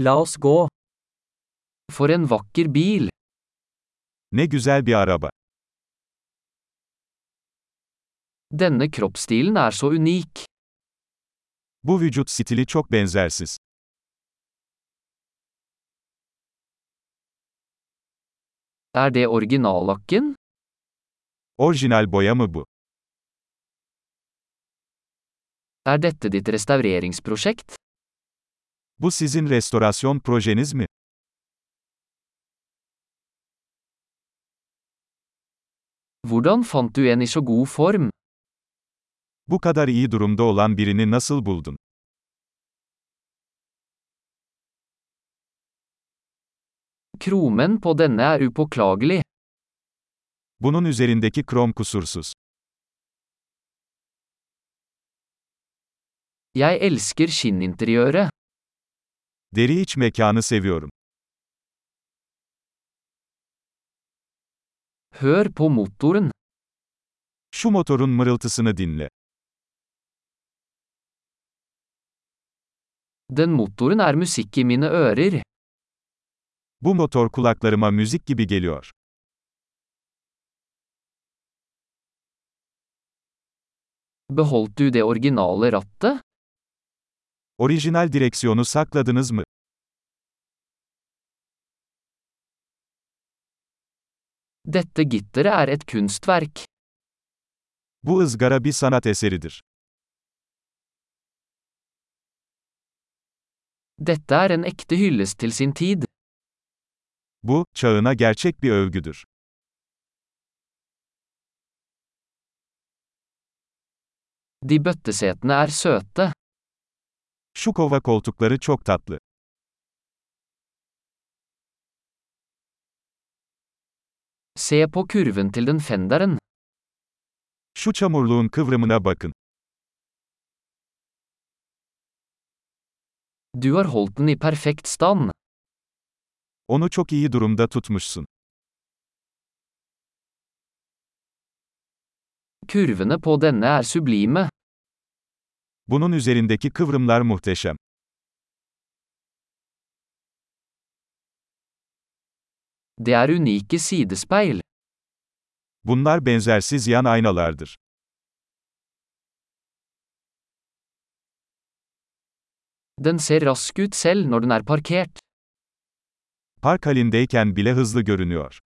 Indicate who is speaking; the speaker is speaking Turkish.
Speaker 1: La oss gå. For en vakker bil.
Speaker 2: Ne güzel bir araba.
Speaker 1: Denne kroppsstilen er så unik.
Speaker 2: Bu vücut stili çok benzersiz.
Speaker 1: Er det originallakken?
Speaker 2: Orijinal boya mı bu?
Speaker 1: Er dette ditt restaureringsprosjekt?
Speaker 2: Bu sizin restorasyon projeniz mi?
Speaker 1: Hvordan fant du en i så god form?
Speaker 2: Bu kadar iyi durumda olan birini nasıl buldun?
Speaker 1: Kromen på denne er upåklagelig.
Speaker 2: Bunun üzerindeki krom kusursuz.
Speaker 1: Jeg elsker skinninteriøret.
Speaker 2: Deri iç mekanı seviyorum.
Speaker 1: Hør på motoren.
Speaker 2: Şu motorun mırıltısını dinle.
Speaker 1: Den motoren er musikk i mine ører.
Speaker 2: Bu motor kulaklarıma müzik gibi geliyor.
Speaker 1: Beholdt du det originale rattet?
Speaker 2: Orijinal direksiyonu sakladınız mı?
Speaker 1: Dette gitteret er et kunstverk.
Speaker 2: Bu ızgara bir sanat eseridir.
Speaker 1: Dette er en ekte hyllest til sin tid.
Speaker 2: Bu, çağına gerçek bir övgüdür.
Speaker 1: De bøttesetene er søte.
Speaker 2: Şu kova koltukları çok tatlı.
Speaker 1: Se på kurven til den fenderen.
Speaker 2: Şu çamurluğun kıvrımına bakın.
Speaker 1: Du har holdt den i perfekt stand.
Speaker 2: Onu çok iyi durumda tutmuşsun.
Speaker 1: Kurvene på denne er sublime.
Speaker 2: Bunun üzerindeki kıvrımlar muhteşem.
Speaker 1: Det er unike sidespeil.
Speaker 2: Bunlar benzersiz yan aynalardır.
Speaker 1: Den ser rask ut selv når den er parkert.
Speaker 2: Park halindeyken bile hızlı görünüyor.